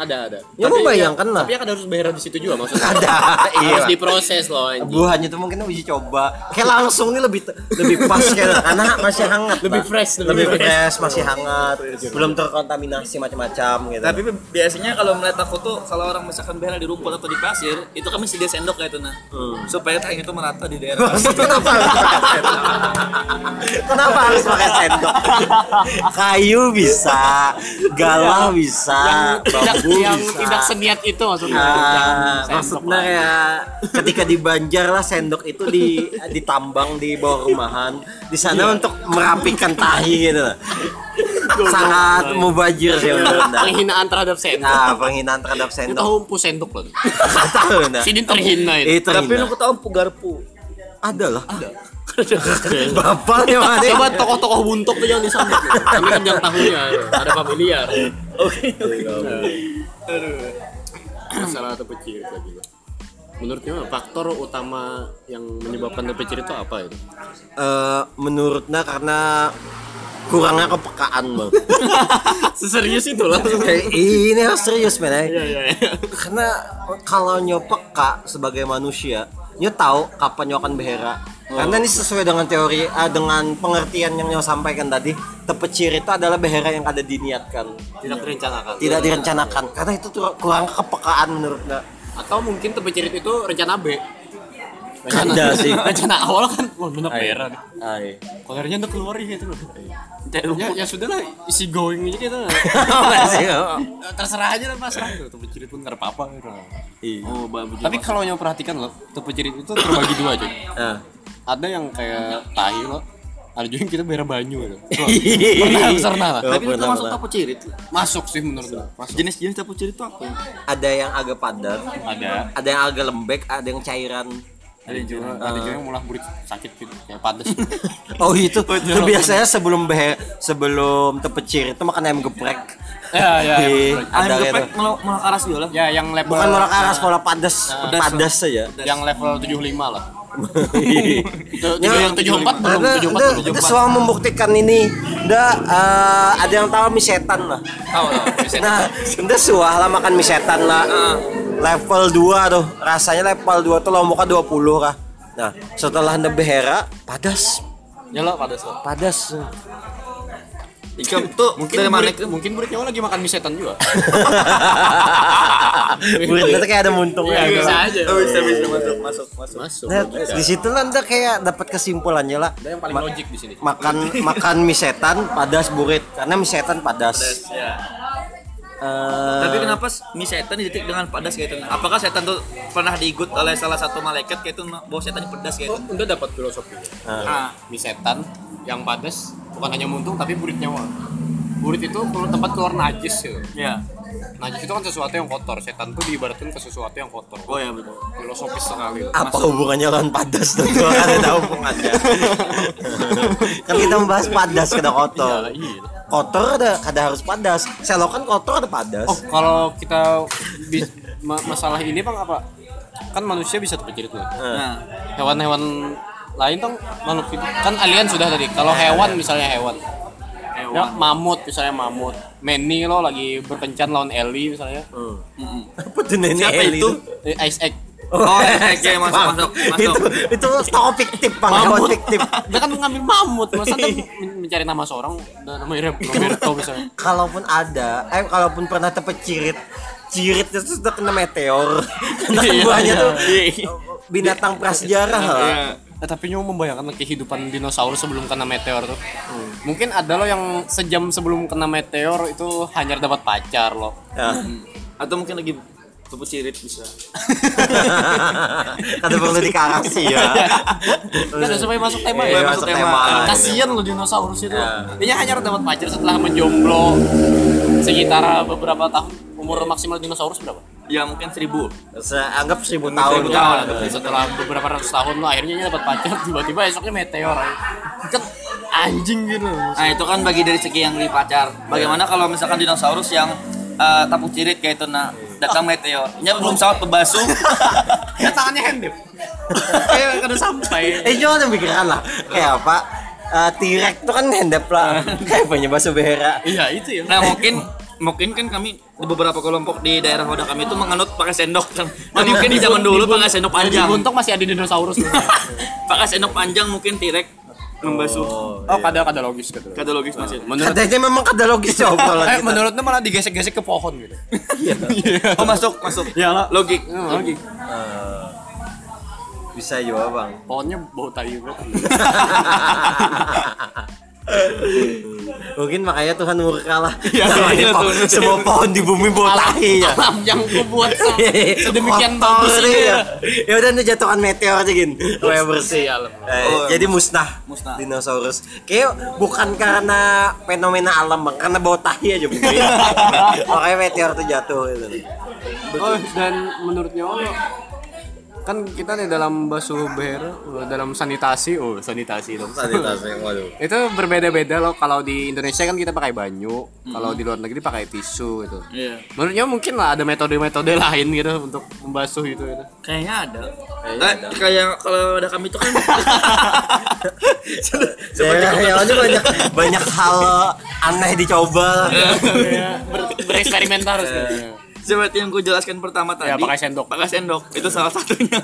S2: Ada ada.
S1: Ya,
S2: Tapi
S1: membayangkan lah.
S2: Tapi ya kan harus bayar di situ juga maksudnya.
S1: Ada, *laughs* iya.
S2: Harus diproses loh anjing.
S1: Buahnya tuh mungkin bisa coba. Kayak langsung nih lebih lebih pas kayak gitu. karena masih hangat.
S2: Lebih
S1: Pak.
S2: fresh, lebih
S1: lebih
S2: fresh.
S1: fresh, masih hangat, belum terkontaminasi macam-macam gitu.
S3: Tapi bi- biasanya kalau melihat aku tuh kalau orang misalkan berak di rumput atau di pasir, itu kami sedia sendok
S2: Hmm.
S3: kayak itu nah. Supaya tayang itu merata di daerah.
S1: Kenapa? Kenapa harus pakai sendok? Kayu bisa, galah bisa,
S2: tidak
S1: bambu
S2: Iya. yang
S1: bisa.
S2: tidak seniat itu maksudnya.
S1: Ah,
S2: Jangan sendok
S1: maksudnya
S2: lah.
S1: ya ketika di Banjar lah sendok itu di ditambang di bawah rumahan di sana
S2: Iya.
S1: untuk merapikan tahi gitu loh.
S2: Iya.
S1: sangat mubajir sih menurut Anda.
S2: penghinaan terhadap sendok.
S1: nah penghinaan terhadap
S2: Itu
S1: sendok
S2: tahu empu sendok loh.
S1: tahu nah
S2: Sidin terhina itu.
S1: itu
S3: Tapi
S1: hina.
S3: lu ketahuan pugarpu.
S1: ada lah bapak ya Mas.
S2: Coba tokoh-tokoh buntuk tuh yang disambut. loh. Kami kan yang tahunya ada familiar.
S3: Oke.
S4: masalah atau kecil lagi Bang. menurutnya faktor utama yang menyebabkan TP ciri itu apa itu
S1: Eh, menurutnya karena kurangnya kepekaan bang
S2: *laughs* Seserius itu lah.
S1: Eh, *laughs* ini harus serius men eh.
S2: Iya, iya, iya.
S1: karena kalau nyo peka sebagai manusia nyo tahu kapan nyo akan behera karena ini sesuai dengan teori ah, dengan pengertian yang nyo sampaikan tadi tepecir itu adalah behera yang ada diniatkan
S4: tidak direncanakan
S1: tidak direncanakan karena itu tuh kurang kepekaan menurut Nda.
S2: Atau mungkin tepi cerit itu rencana B.
S1: Ada sih.
S2: *laughs* Rencana awal kan wah benak merah. nih.
S1: Ay.
S2: Kolernya udah keluar ya itu loh. Ya, ya sudah lah isi going aja gitu.
S1: *laughs* Masih, oh.
S2: Terserah aja lah pasrah. Tuh tepi cerit pun enggak apa-apa gitu.
S1: Iya.
S2: Oh, Tapi kalau yang perhatikan loh, tepi cerit itu terbagi dua aja.
S1: Ah.
S2: Ada yang kayak tahi loh. Ada juga yang kita bayar banyu gitu.
S1: Pernah,
S2: pernah lah.
S1: Oh,
S3: Tapi itu
S1: pernah,
S3: termasuk
S1: pernah.
S3: tapu cirit.
S2: Masuk sih menurut gue. Masuk.
S3: Jenis-jenis tapu cirit itu apa?
S1: ada yang agak padat
S2: Ada.
S1: ada yang agak lembek ada yang cairan *laughs*
S2: Ada juga, ada juga yang mulai burik sakit gitu kayak padas.
S1: oh itu itu biasanya sebelum behe sebelum tepecir itu makan ayam geprek
S2: *laughs* ya, *laughs* ya. ya.
S1: Di- ada
S3: Ada
S1: gitu.
S3: gepek malah karas juga lah.
S2: Ya, yang level
S1: bukan mola karas mola padas
S2: Nah,
S3: pedas.
S1: padas saja
S2: yang level 75 lah. Itu
S1: Ya,
S2: yang 74 belum
S1: Karena
S2: 74
S1: udah- udah semua membuktikan ini udah eh, ada yang tahu mie setan lah
S3: Tahu lah. biasanya.
S1: nah udah suah lah makan mie setan lah
S2: Ah.
S1: level 2 tuh rasanya level 2 tuh lomboknya 20 kah nah setelah nebehera padas
S3: Ya lo pada so.
S1: padas
S3: Ikam tuh
S2: Mungkin
S3: dari mana?
S2: burik, mungkin buriknya orang lagi makan mie setan juga.
S1: Buritnya tuh kayak ada muntungnya gitu lah.
S2: Iya, aja.
S3: Oh, bisa bisa masuk masuk masuk.
S4: masuk
S1: Nah, di situ lah Anda kayak dapat kesimpulannya lah.
S4: ada yang paling
S1: Ma-
S4: logik di sini
S1: makan makan mie setan padas burit karena mie setan padas.
S2: Iya.
S3: Ya.
S1: Eh,
S3: Tapi kenapa s- mie setan dititik dengan pedas kayak itu? Apakah setan tuh pernah diikut oleh salah satu malaikat kayak itu no- bahwa setan pedas kayak
S4: oh,
S3: itu?
S4: udah dapat filosofinya
S3: Ah,
S2: Mie setan yang padas bukan hanya muntung tapi burit nyawa. Burit itu keluar- tempat keluar najis gitu.
S3: ya.
S2: Najis itu kan sesuatu yang kotor. Setan tuh diibaratkan ke sesuatu yang kotor.
S3: Oh ya betul.
S2: Filosofis sekali.
S1: apa hubungannya lawan padas tuh? Gua kan ada
S3: *laughs*
S1: hubungannya. kan kita membahas padas kena
S2: iya.
S1: kotor.
S3: Iya,
S2: ya,
S1: Kotor ada ada harus padas. Selokan kotor ada padas.
S2: Oh, kalau kita bi- ma- masalah ini bang apa? Kan manusia bisa terpikirin tuh.
S3: Nah,
S2: Hewan-hewan lain dong makhluk hidup. Kan alien sudah tadi. Kalau hewan misalnya hewan. Ya, mamut misalnya mamut. Manny lo lagi berkencan lawan Ellie misalnya.
S1: Apa tuh nenek
S3: Siapa
S1: Eli
S3: itu?
S2: Eh, Ice Egg.
S1: Oh,
S3: Oh, oke, masuk,
S1: Bang.
S3: masuk, masuk.
S1: Itu itu toko fiktif, Bang. Hewan fiktif.
S2: Dia kan mengambil mamut. Masa dia men- mencari nama seorang dan namanya Roberto misalnya.
S1: kalaupun ada eh kalaupun pernah tepecirit ciritnya tuh sudah kena meteor kena buahnya tuh binatang prasejarah ya. lah
S2: Nah, tapi nyu membayangkan kehidupan dinosaurus sebelum kena meteor tuh. Mungkin ada lo yang sejam sebelum kena meteor itu hanya dapat pacar lo.
S1: *laughs* Ya.
S3: atau mungkin lagi tubuh cirit bisa.
S1: kata perlu dikarasi ya
S2: Kan supaya masuk tema gitu. Iya.
S1: Iya,
S2: ya.
S1: masuk tema.
S2: Kasian lo dinosaurus itu. Dia hanya dapat pacar setelah menjomblo sekitar beberapa tahun. Umur maksimal dinosaurus berapa?
S3: Ya mungkin seribu.
S1: Saya anggap seribu tahun
S3: Seribu
S1: ya.
S3: tahun.
S2: Iya, Setelah beberapa ratus tahun lo akhirnya dia dapat pacar tiba-tiba esoknya meteor. Kan anjing gitu.
S3: Nah itu kan bagi dari segi yang di pacar. Bagaimana kalau misalkan dinosaurus yang eh, tapu cirit kayak itu nah datang meteor. Nya belum sawat pebasu.
S2: *laughs* Ya tangannya handip. Kayak kada sampai.
S1: eh jangan ada pikiran lah kayak apa Eh, T-Rex tuh kan hendap lah kayak punya bakso behera
S2: Iya itu ya.
S3: nah mungkin mungkin kan kami di beberapa kelompok di daerah wadah kami itu menganut pakai sendok. Nah, mungkin di zaman dulu pakai sendok
S2: Di
S3: panjang.
S2: Buntung masih ada dinosaurus.
S3: *laughs* pakai sendok panjang mungkin tirek membasuh.
S2: *laughs* oh, kadang kadang logis gitu.
S3: Kata logis masih.
S2: Menurut
S1: katanya memang kada logis coba lah
S2: eh,
S1: kita.
S2: menurutnya malah digesek-gesek ke pohon gitu.
S3: Oh masuk masuk.
S2: Ya lah.
S3: Logik.
S2: Logik.
S1: Eh, bisa juga bang
S2: Pohonnya bau tai banget.
S1: Mungkin makanya Tuhan murka lah.
S2: Iya,
S1: Sama
S2: iya,
S1: di po-
S2: Tuhan.
S1: semua pohon di bumi buat tahi
S3: Iya.
S1: ya.
S2: alam yang
S3: *laughs*
S2: kubuat sedemikian
S1: Kotor
S2: bagus Iya.
S1: nih,
S2: ini
S1: ya. Ya udah nih jatuhan meteor aja gin. Supaya bersih.
S3: ya,
S2: alam.
S1: Eh, jadi musnah,
S3: Musnah.
S1: dinosaurus. Kayak bukan karena fenomena alam bang, karena bau tahi aja mungkin. *laughs* Makanya meteor tuh jatuh gitu.
S2: Oh, dan menurutnya Allah kan kita nih dalam basuh ber eh, dalam sanitasi oh sanitasi dong
S1: waduh.
S2: itu berbeda-beda loh kalau di Indonesia kan kita pakai banyu kalau di luar negeri pakai tisu gitu
S3: Mm-hmm. Iya.
S2: menurutnya mungkin lah ada metode-metode *laughs* lain gitu untuk membasuh itu gitu.
S3: Kayaknya ada. Eh, kayak kalau ada kami itu
S2: *laughs*
S3: kan
S1: Daerah yang aja banyak ya, banyak hal aneh dicoba.
S2: Iya.
S3: Iya.
S2: *laughs* Ber- bereksperimen harus gitu.
S3: seperti yang gue jelaskan pertama Eh, tadi.
S2: Ya, pakai sendok.
S3: Pakai sendok itu salah satunya.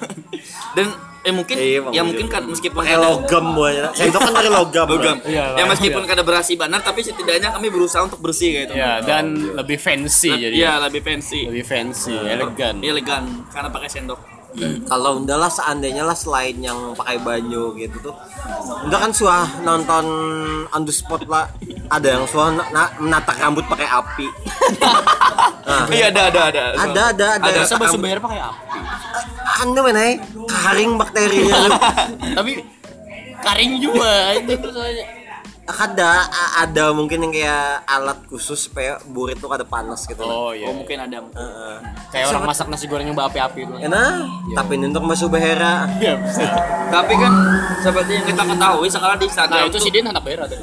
S3: Dan eh mungkin
S1: Iya, Bang,
S3: ya
S1: iya.
S3: mungkin kan meskipun
S1: Pakai
S3: ada-
S1: logam buahnya. Sendok kan dari logam.
S3: logam.
S1: Bang.
S2: Iya,
S3: ya
S2: lah.
S3: meskipun kada berasi benar tapi setidaknya kami berusaha untuk bersih kayak itu.
S2: ya dan lebih fancy
S3: Le-
S2: jadi
S3: Iya, Eh, lebih fancy. Iya,
S2: lebih fancy elegan
S3: Elegan karena pakai sendok.
S1: kalau udah lah seandainya lah selain yang pakai banyu gitu tuh udah kan suah nonton on the spot lah ada yang suah na- na- menata rambut pakai api nah,
S3: Iya, ada ada ada.
S1: ada ada ada
S2: ada
S1: Nata
S2: sebab
S1: rambut.
S2: sumber pakai apa
S1: anu menai karing bakterinya lu.
S2: *laughs* tapi karing juga itu soalnya
S1: ada a- ada mungkin yang kayak alat khusus supaya burit tuh ada panas gitu lah.
S2: oh iya
S3: Oh, mungkin ada. mungkin.
S1: Heeh.
S2: kayak orang masak nasi goreng yang berapi-api itu
S1: enak tapi ini untuk masuk behera
S2: iya bisa
S3: Tapi kan seperti yang kita ketahui sekarang di Instagram
S2: nah itu
S3: tuh-
S2: si Din anak bayar tuh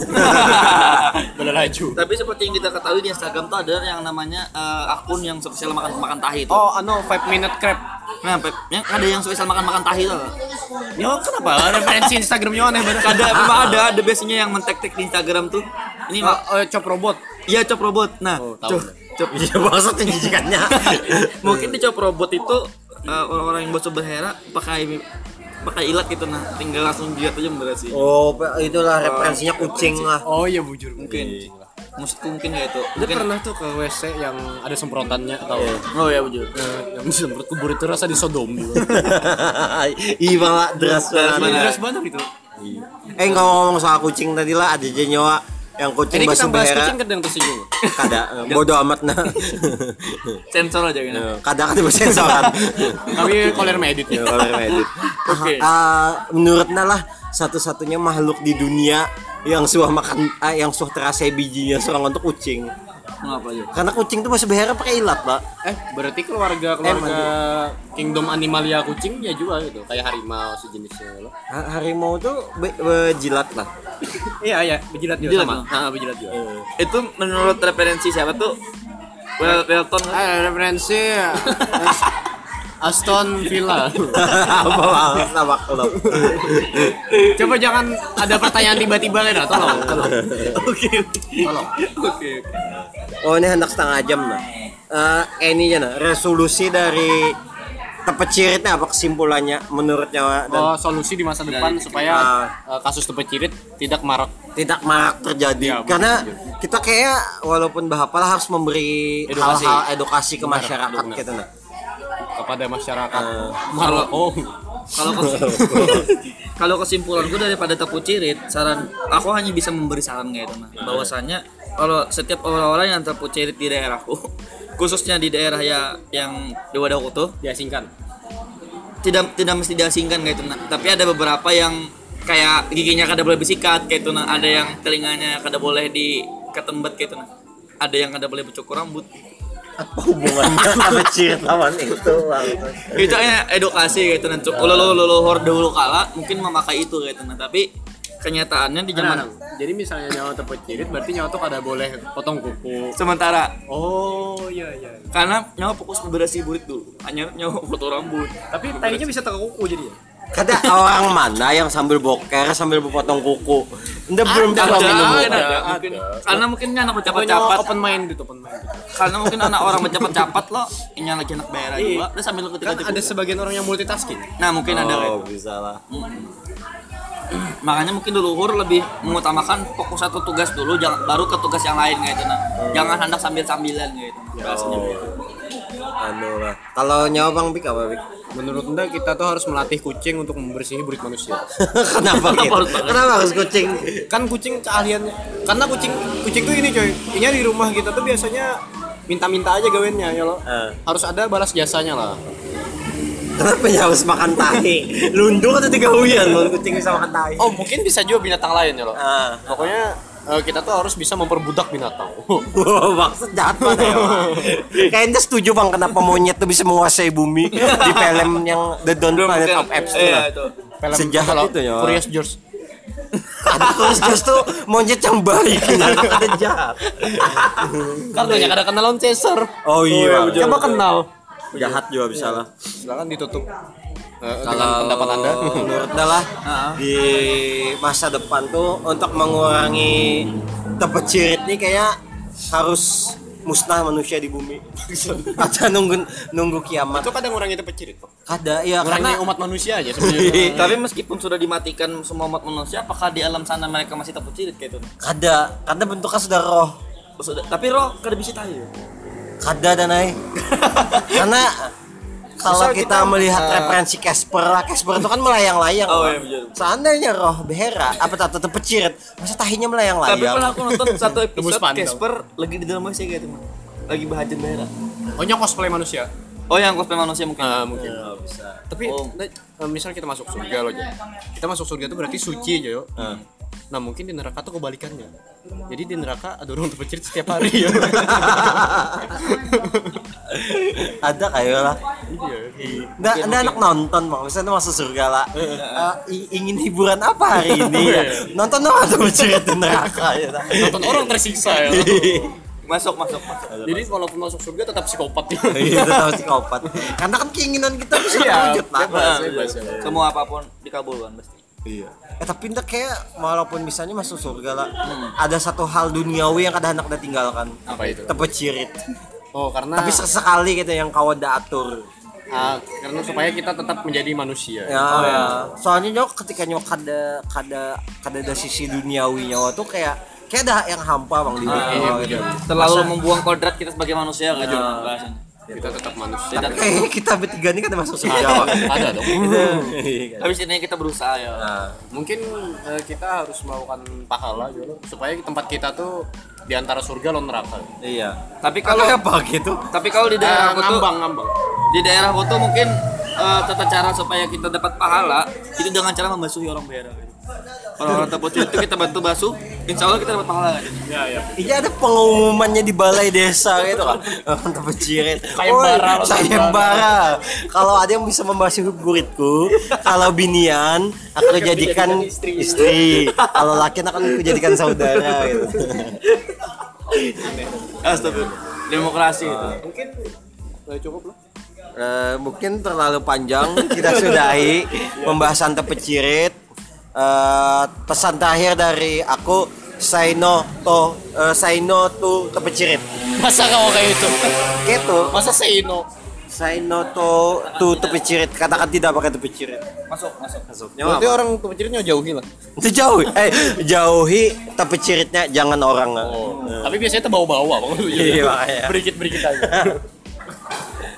S2: *laughs* berlaju
S3: *laughs* Tapi seperti yang kita ketahui di Instagram tuh ada yang namanya eh, akun yang spesial makan makan tahi itu.
S2: oh anu 5 minute crab
S3: Nah, Pep, yang ada yang spesial makan makan tahi tuh.
S2: ya kenapa referensi Instagramnya aneh banget
S3: Ada memang ada ada biasanya yang mentek-tek di Instagram tuh. Ini
S2: Oh,
S3: Mak,
S2: oh, cop robot
S3: iya cop robot. Nah,
S2: Oh, tahu.
S3: cop, cop.
S1: iya maksudnya jijikannya
S3: *laughs* Mungkin di cop robot itu eh, orang-orang yang bocor berhera pakai pakai ilat gitu nah, tinggal langsung giat aja berasi.
S2: iya,
S1: oh itulah referensinya kucing lah *laughs*
S2: oh iya bujur
S3: Mungkin. Maksudku mungkin ya itu.
S2: Lu
S3: Mungkin-
S2: pernah tuh ke WC yang ada semprotannya atau
S3: Oh ya bujur.
S2: Eh, yang disemprot kubur itu rasa disodom *laughs* gitu.
S1: Iya malah deras
S3: Deras
S1: banget.
S3: banget.
S2: Jelas banget gitu.
S1: Eh nggak ngomong soal kucing tadi lah ada aja nyawa yang kucing
S2: Ini kita
S1: basuh
S2: bahas kan
S1: behera
S2: kucing kadang tersinggung.
S1: kada eh, bodoh amat nah
S3: Sensor aja gitu.
S1: kadang kan bersensoran
S2: Kami koler medit
S1: Ya,
S2: ya.
S1: kalau yang
S2: *laughs*
S1: edit.
S3: Oke.
S1: Ah, ah, menurutnya lah satu-satunya makhluk di dunia yang suah makan ah, yang suah terasa bijinya seorang untuk kucing
S3: Kenapa aja?
S1: karena kucing tuh masih behera pakai ilat pak
S2: Eh, berarti keluarga keluarga kingdom animalia kucing ya juga gitu, kayak harimau sejenisnya gitu loh.
S1: Ha- harimau tuh be- be- jilat lah *laughs*
S2: Iya iya, bejilat juga Eh.
S3: Bejilat
S2: sama.
S3: juga.
S2: Heeh, bejilat juga.
S3: Itu menurut referensi siapa tuh? Well, Welton.
S2: Eh, referensi *laughs* As- Aston Villa.
S1: apa banget sama klub
S2: *laughs* Coba jangan ada pertanyaan tiba-tiba Lena, tolong. tolong.
S3: Oke.
S2: Tolong.
S3: Oke. oke.
S1: Oh ini hendak setengah jam nah. Eh ini nah resolusi dari tepeciritnya apa kesimpulannya menurutnya Wak? dan
S2: Oh, solusi di masa depan supaya eh, kasus tepecirit tidak marak.
S1: tidak marak terjadi
S2: Iya,
S1: karena kita kayak walaupun bahapalah harus memberi
S2: Edukasi.
S1: hal-hal edukasi ke masyarakat gitu nah.
S2: kepada masyarakat malah oh
S3: Kalau kes- kalau kesimpulanku daripada tepu cirit, saran aku hanya bisa memberi saran kayak itu mah. Bahwasanya kalau setiap orang-orang yang tepu cirit di daerahku, *laughs* khususnya di daerah ya yang di Wadahku tuh,
S2: *laughs* diasingkan.
S3: tidak tidak mesti diasingkan kayak itu nah. tapi ada beberapa yang kayak giginya kada boleh disikat kayak itu nah ada yang telinganya kada boleh di ketembat kayak itu nah ada yang kada boleh bercukur rambut
S1: apa hubungannya tepecirit lawan itu Bang?
S3: itu hanya edukasi kayak itu nah Cuk- lulu- leluhur dulu kala mungkin memakai itu kayak itu nah tapi kenyataannya di zaman
S2: Nah, jadi misalnya nyawa tepecirit berarti nyawa tuh kada boleh potong kuku.
S3: sementara
S2: Oh iya iya.
S3: karena nyawa fokus berasi burit dulu hanya nyawa foto rambut
S2: Tapi tadinya bisa teka kuku jadi ya.
S1: Kata orang mana yang sambil boker sambil berpotong kuku. Anda belum coba minum obat.
S3: mungkin karena mungkin anak
S2: Nyawa
S3: bercapat-capat
S2: open minded open gitu. minded.
S3: karena mungkin anak orang bercapat-capat lo ini lagi anak daerah
S2: Iya.
S3: juga terus sambil ketika
S2: Kan ada sebagian orang yang multitasking.
S3: Nah mungkin ada kayak
S1: Oh,
S3: gitu.
S1: bisa lah.
S3: makanya mungkin leluhur lebih mengutamakan fokus satu tugas dulu, jangan baru ke tugas yang lain kayak gitu. Nah,
S2: Oh.
S3: jangan hendak
S2: Ya.
S1: Oh.
S3: sambil sambilan gitu. Bahasanya.
S1: Anu lah. Kalau nyawa Bang Bik apa Bik?
S2: Menurut Anda kita tuh harus melatih kucing untuk membersihi burit *laughs* manusia.
S1: Kenapa gitu? Kenapa harus kucing?
S2: kan kucing keahliannya. Karena kucing kucing tuh ini coy. Ini di rumah kita tuh biasanya minta-minta aja gawennya ya lo.
S1: Eh.
S2: Harus ada balas jasanya lah.
S1: Kenapa ya harus makan tahi? Lundur atau tiga huyan mau kucing bisa makan tahi?
S2: Oh, mungkin bisa juga binatang lain ya lo.
S1: Ah.
S2: Pokoknya eh, kita tuh harus bisa memperbudak binatang.
S1: Wow, maksud jahat banget ya. Bang. Kayaknya setuju bang kenapa monyet tuh bisa menguasai bumi di film yang The Dawn Planet of Apes itu.
S3: Iya,
S1: lah.
S3: itu.
S2: Film
S1: Sejahat itu ya.
S2: Curious George.
S1: Ada terus justru monyet yang baik, *laughs* ada jahat.
S2: Kan banyak ada kenal lawan Caesar.
S1: Oh iya, Bang.
S2: Coba kenal.
S1: jahat juga bisa lah.
S2: Silakan ditutup. Eh,
S1: Kalau pendapat
S2: Oh, *laughs*
S1: anda, menurut Anda lah di masa depan tuh untuk mengurangi tepecirit nih kayaknya harus musnah manusia di bumi. Ada nunggu nunggu kiamat.
S2: Itu kadang ngurangi itu pecirit kok.
S1: Ada ya
S2: Ngurangi
S1: karena
S2: umat manusia aja
S1: *laughs* Iya,
S2: sebenarnya.
S3: Tapi meskipun sudah dimatikan semua umat manusia, apakah di alam sana mereka masih takut cirit kayak itu?
S1: Kada, kada bentuknya sudah roh.
S3: Sudah- Tapi roh kada bisa tahu.
S2: Iya.
S1: Kada danai. Karena kalau
S2: Misal
S1: kita,
S2: kita,
S1: melihat
S2: eh,
S1: referensi Casper lah, Casper itu kan melayang-layang.
S3: Oh,
S1: Bang.
S3: iya, betul.
S1: Seandainya roh behera, apa tak tetep pecirit, masa tahinya melayang-layang.
S3: Tapi pernah aku nonton satu
S2: Tebus
S3: episode
S2: pandang.
S3: Casper lagi di dalam masih kayak itu, Mas. lagi bahagian merah.
S2: Oh, nyo cosplay manusia. Ah,
S3: Oh yang cosplay manusia
S1: Iya,
S3: mungkin.
S2: mungkin.
S3: Oh, bisa.
S2: Tapi
S3: Oh.
S2: nah, eh, misal kita masuk surga loh, Jo. Kita masuk surga itu berarti suci aja, yo.
S1: Ah.
S2: Nah, mungkin di neraka tuh kebalikannya. Jadi di neraka ada orang terpecit setiap hari
S1: *laughs*
S2: ya.
S1: Ada kayak lah.
S2: Iya.
S1: Nggak, Anda anak nonton bang, misalnya masuk surga lah Eh, i- Ingin hiburan apa hari ini ya? Nonton dong atau bercerita di neraka ya tak?
S2: Nonton orang tersiksa ya.
S1: Iya.
S3: Masuk masuk masuk.
S2: Jadi walaupun masuk surga tetap
S3: *laughs*
S2: psikopat ya.
S1: *laughs* Iya, tetap psikopat Karena kan keinginan kita bisa terwujud lah
S3: iya.
S2: bebas, bebas, ya.
S3: Nah, Semua apapun dikabulkan pasti.
S1: Eh, tapi ntar kayak walaupun misalnya masuk surga lah Ada satu hal duniawi yang kadang anak udah tinggalkan
S2: Apa itu?
S1: Tepecirit
S2: Oh, karena
S1: Tapi sesekali gitu yang kawan udah atur
S2: ah, karena supaya kita tetap menjadi manusia.
S1: Ya, soalnya nyok ketika nyok kada kada kada ada sisi duniawi nyawa tuh kayak kayak ada yang hampa bang di dunia
S2: iya,
S1: gitu.
S2: iya.
S3: Terlalu membuang kodrat kita sebagai manusia nggak Jun? Bahasanya.
S2: Kita tetap manusia.
S1: *laughs*
S3: Tidak.
S1: Kayaknya kita bertiga nih kan ada masuk
S3: Iya,
S1: surga *laughs* Gitu. Iya, kan? Bang.
S2: *laughs*
S1: Hmm.
S2: Ada dong.
S3: Habis ini kita berusaha ya.
S1: Nah.
S2: Mungkin eh, kita harus melakukan pahala gitu, supaya tempat kita tuh di antara surga dan neraka.
S1: Iya.
S3: Tapi
S1: Kalau
S3: kalau
S1: apa gitu?
S3: tapi kalau di
S2: Eh,
S3: daerah aku tuh
S2: ngambang, ngambang.
S3: di daerah aku tuh mungkin eh, tata cara supaya kita dapat pahala itu dengan cara membasuhi orang daerah. gitu. Kalau orang terpocil itu kita bantu basuh, insya Allah kita dapat pahala. Gitu.
S1: Iya ada pengumumannya di balai desa gitu kan. *laughs* Mantap cirit.
S2: Sayembara,
S1: Oi, sayembara. Kalau ada yang bisa membasuh guritku, kalau binian akan dijadikan istri. Kalau laki akan kujadikan saudara gitu.
S3: Astagfirullah. Demokrasi itu.
S2: Mungkin eh, cukup lah.
S1: Eh, mungkin terlalu panjang kita sudahi pembahasan tepecirit. Eh, pesan terakhir dari aku say no to eh, say no to tepecirit.
S2: Masa kamu kayak itu?
S1: Gitu.
S2: Masa seino?
S1: Say no to to tepecirit. Katakan tidak pakai tepecirit.
S3: Masuk, masuk.
S1: Nyawa
S2: Berarti
S1: apa?
S2: orang pemecirnya jauhi lah.
S1: Itu jauh. Eh, jauhi tepeciritnya jangan orang.
S2: Oh. Tapi biasanya tuh bawa-bawa
S1: Iya,
S2: *laughs*
S1: makanya.
S2: Berikit-berikit aja.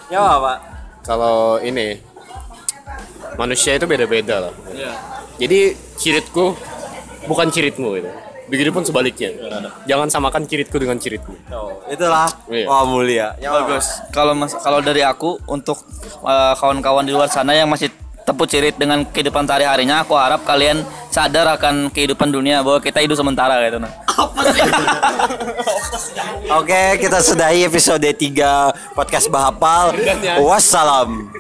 S1: Nyawa apa?
S2: Kalau ini manusia itu beda-beda lah.
S3: Iya.
S2: Jadi ciritku bukan ciritmu gitu. Begitupun sebaliknya. Jangan samakan ciritku dengan ciritmu.
S1: Itulah.
S2: Iya.
S1: Wah, mulia. Nyawa apa?
S3: Bagus. Kalau mas- kalau dari aku untuk eh, kawan-kawan di luar sana yang masih tepuk cirit dengan kehidupan sehari-harinya, aku harap kalian sadar akan kehidupan dunia bahwa kita hidup sementara gitu nah.
S1: Oke, kita sudahi episode 3 podcast Bahapal. Wassalam.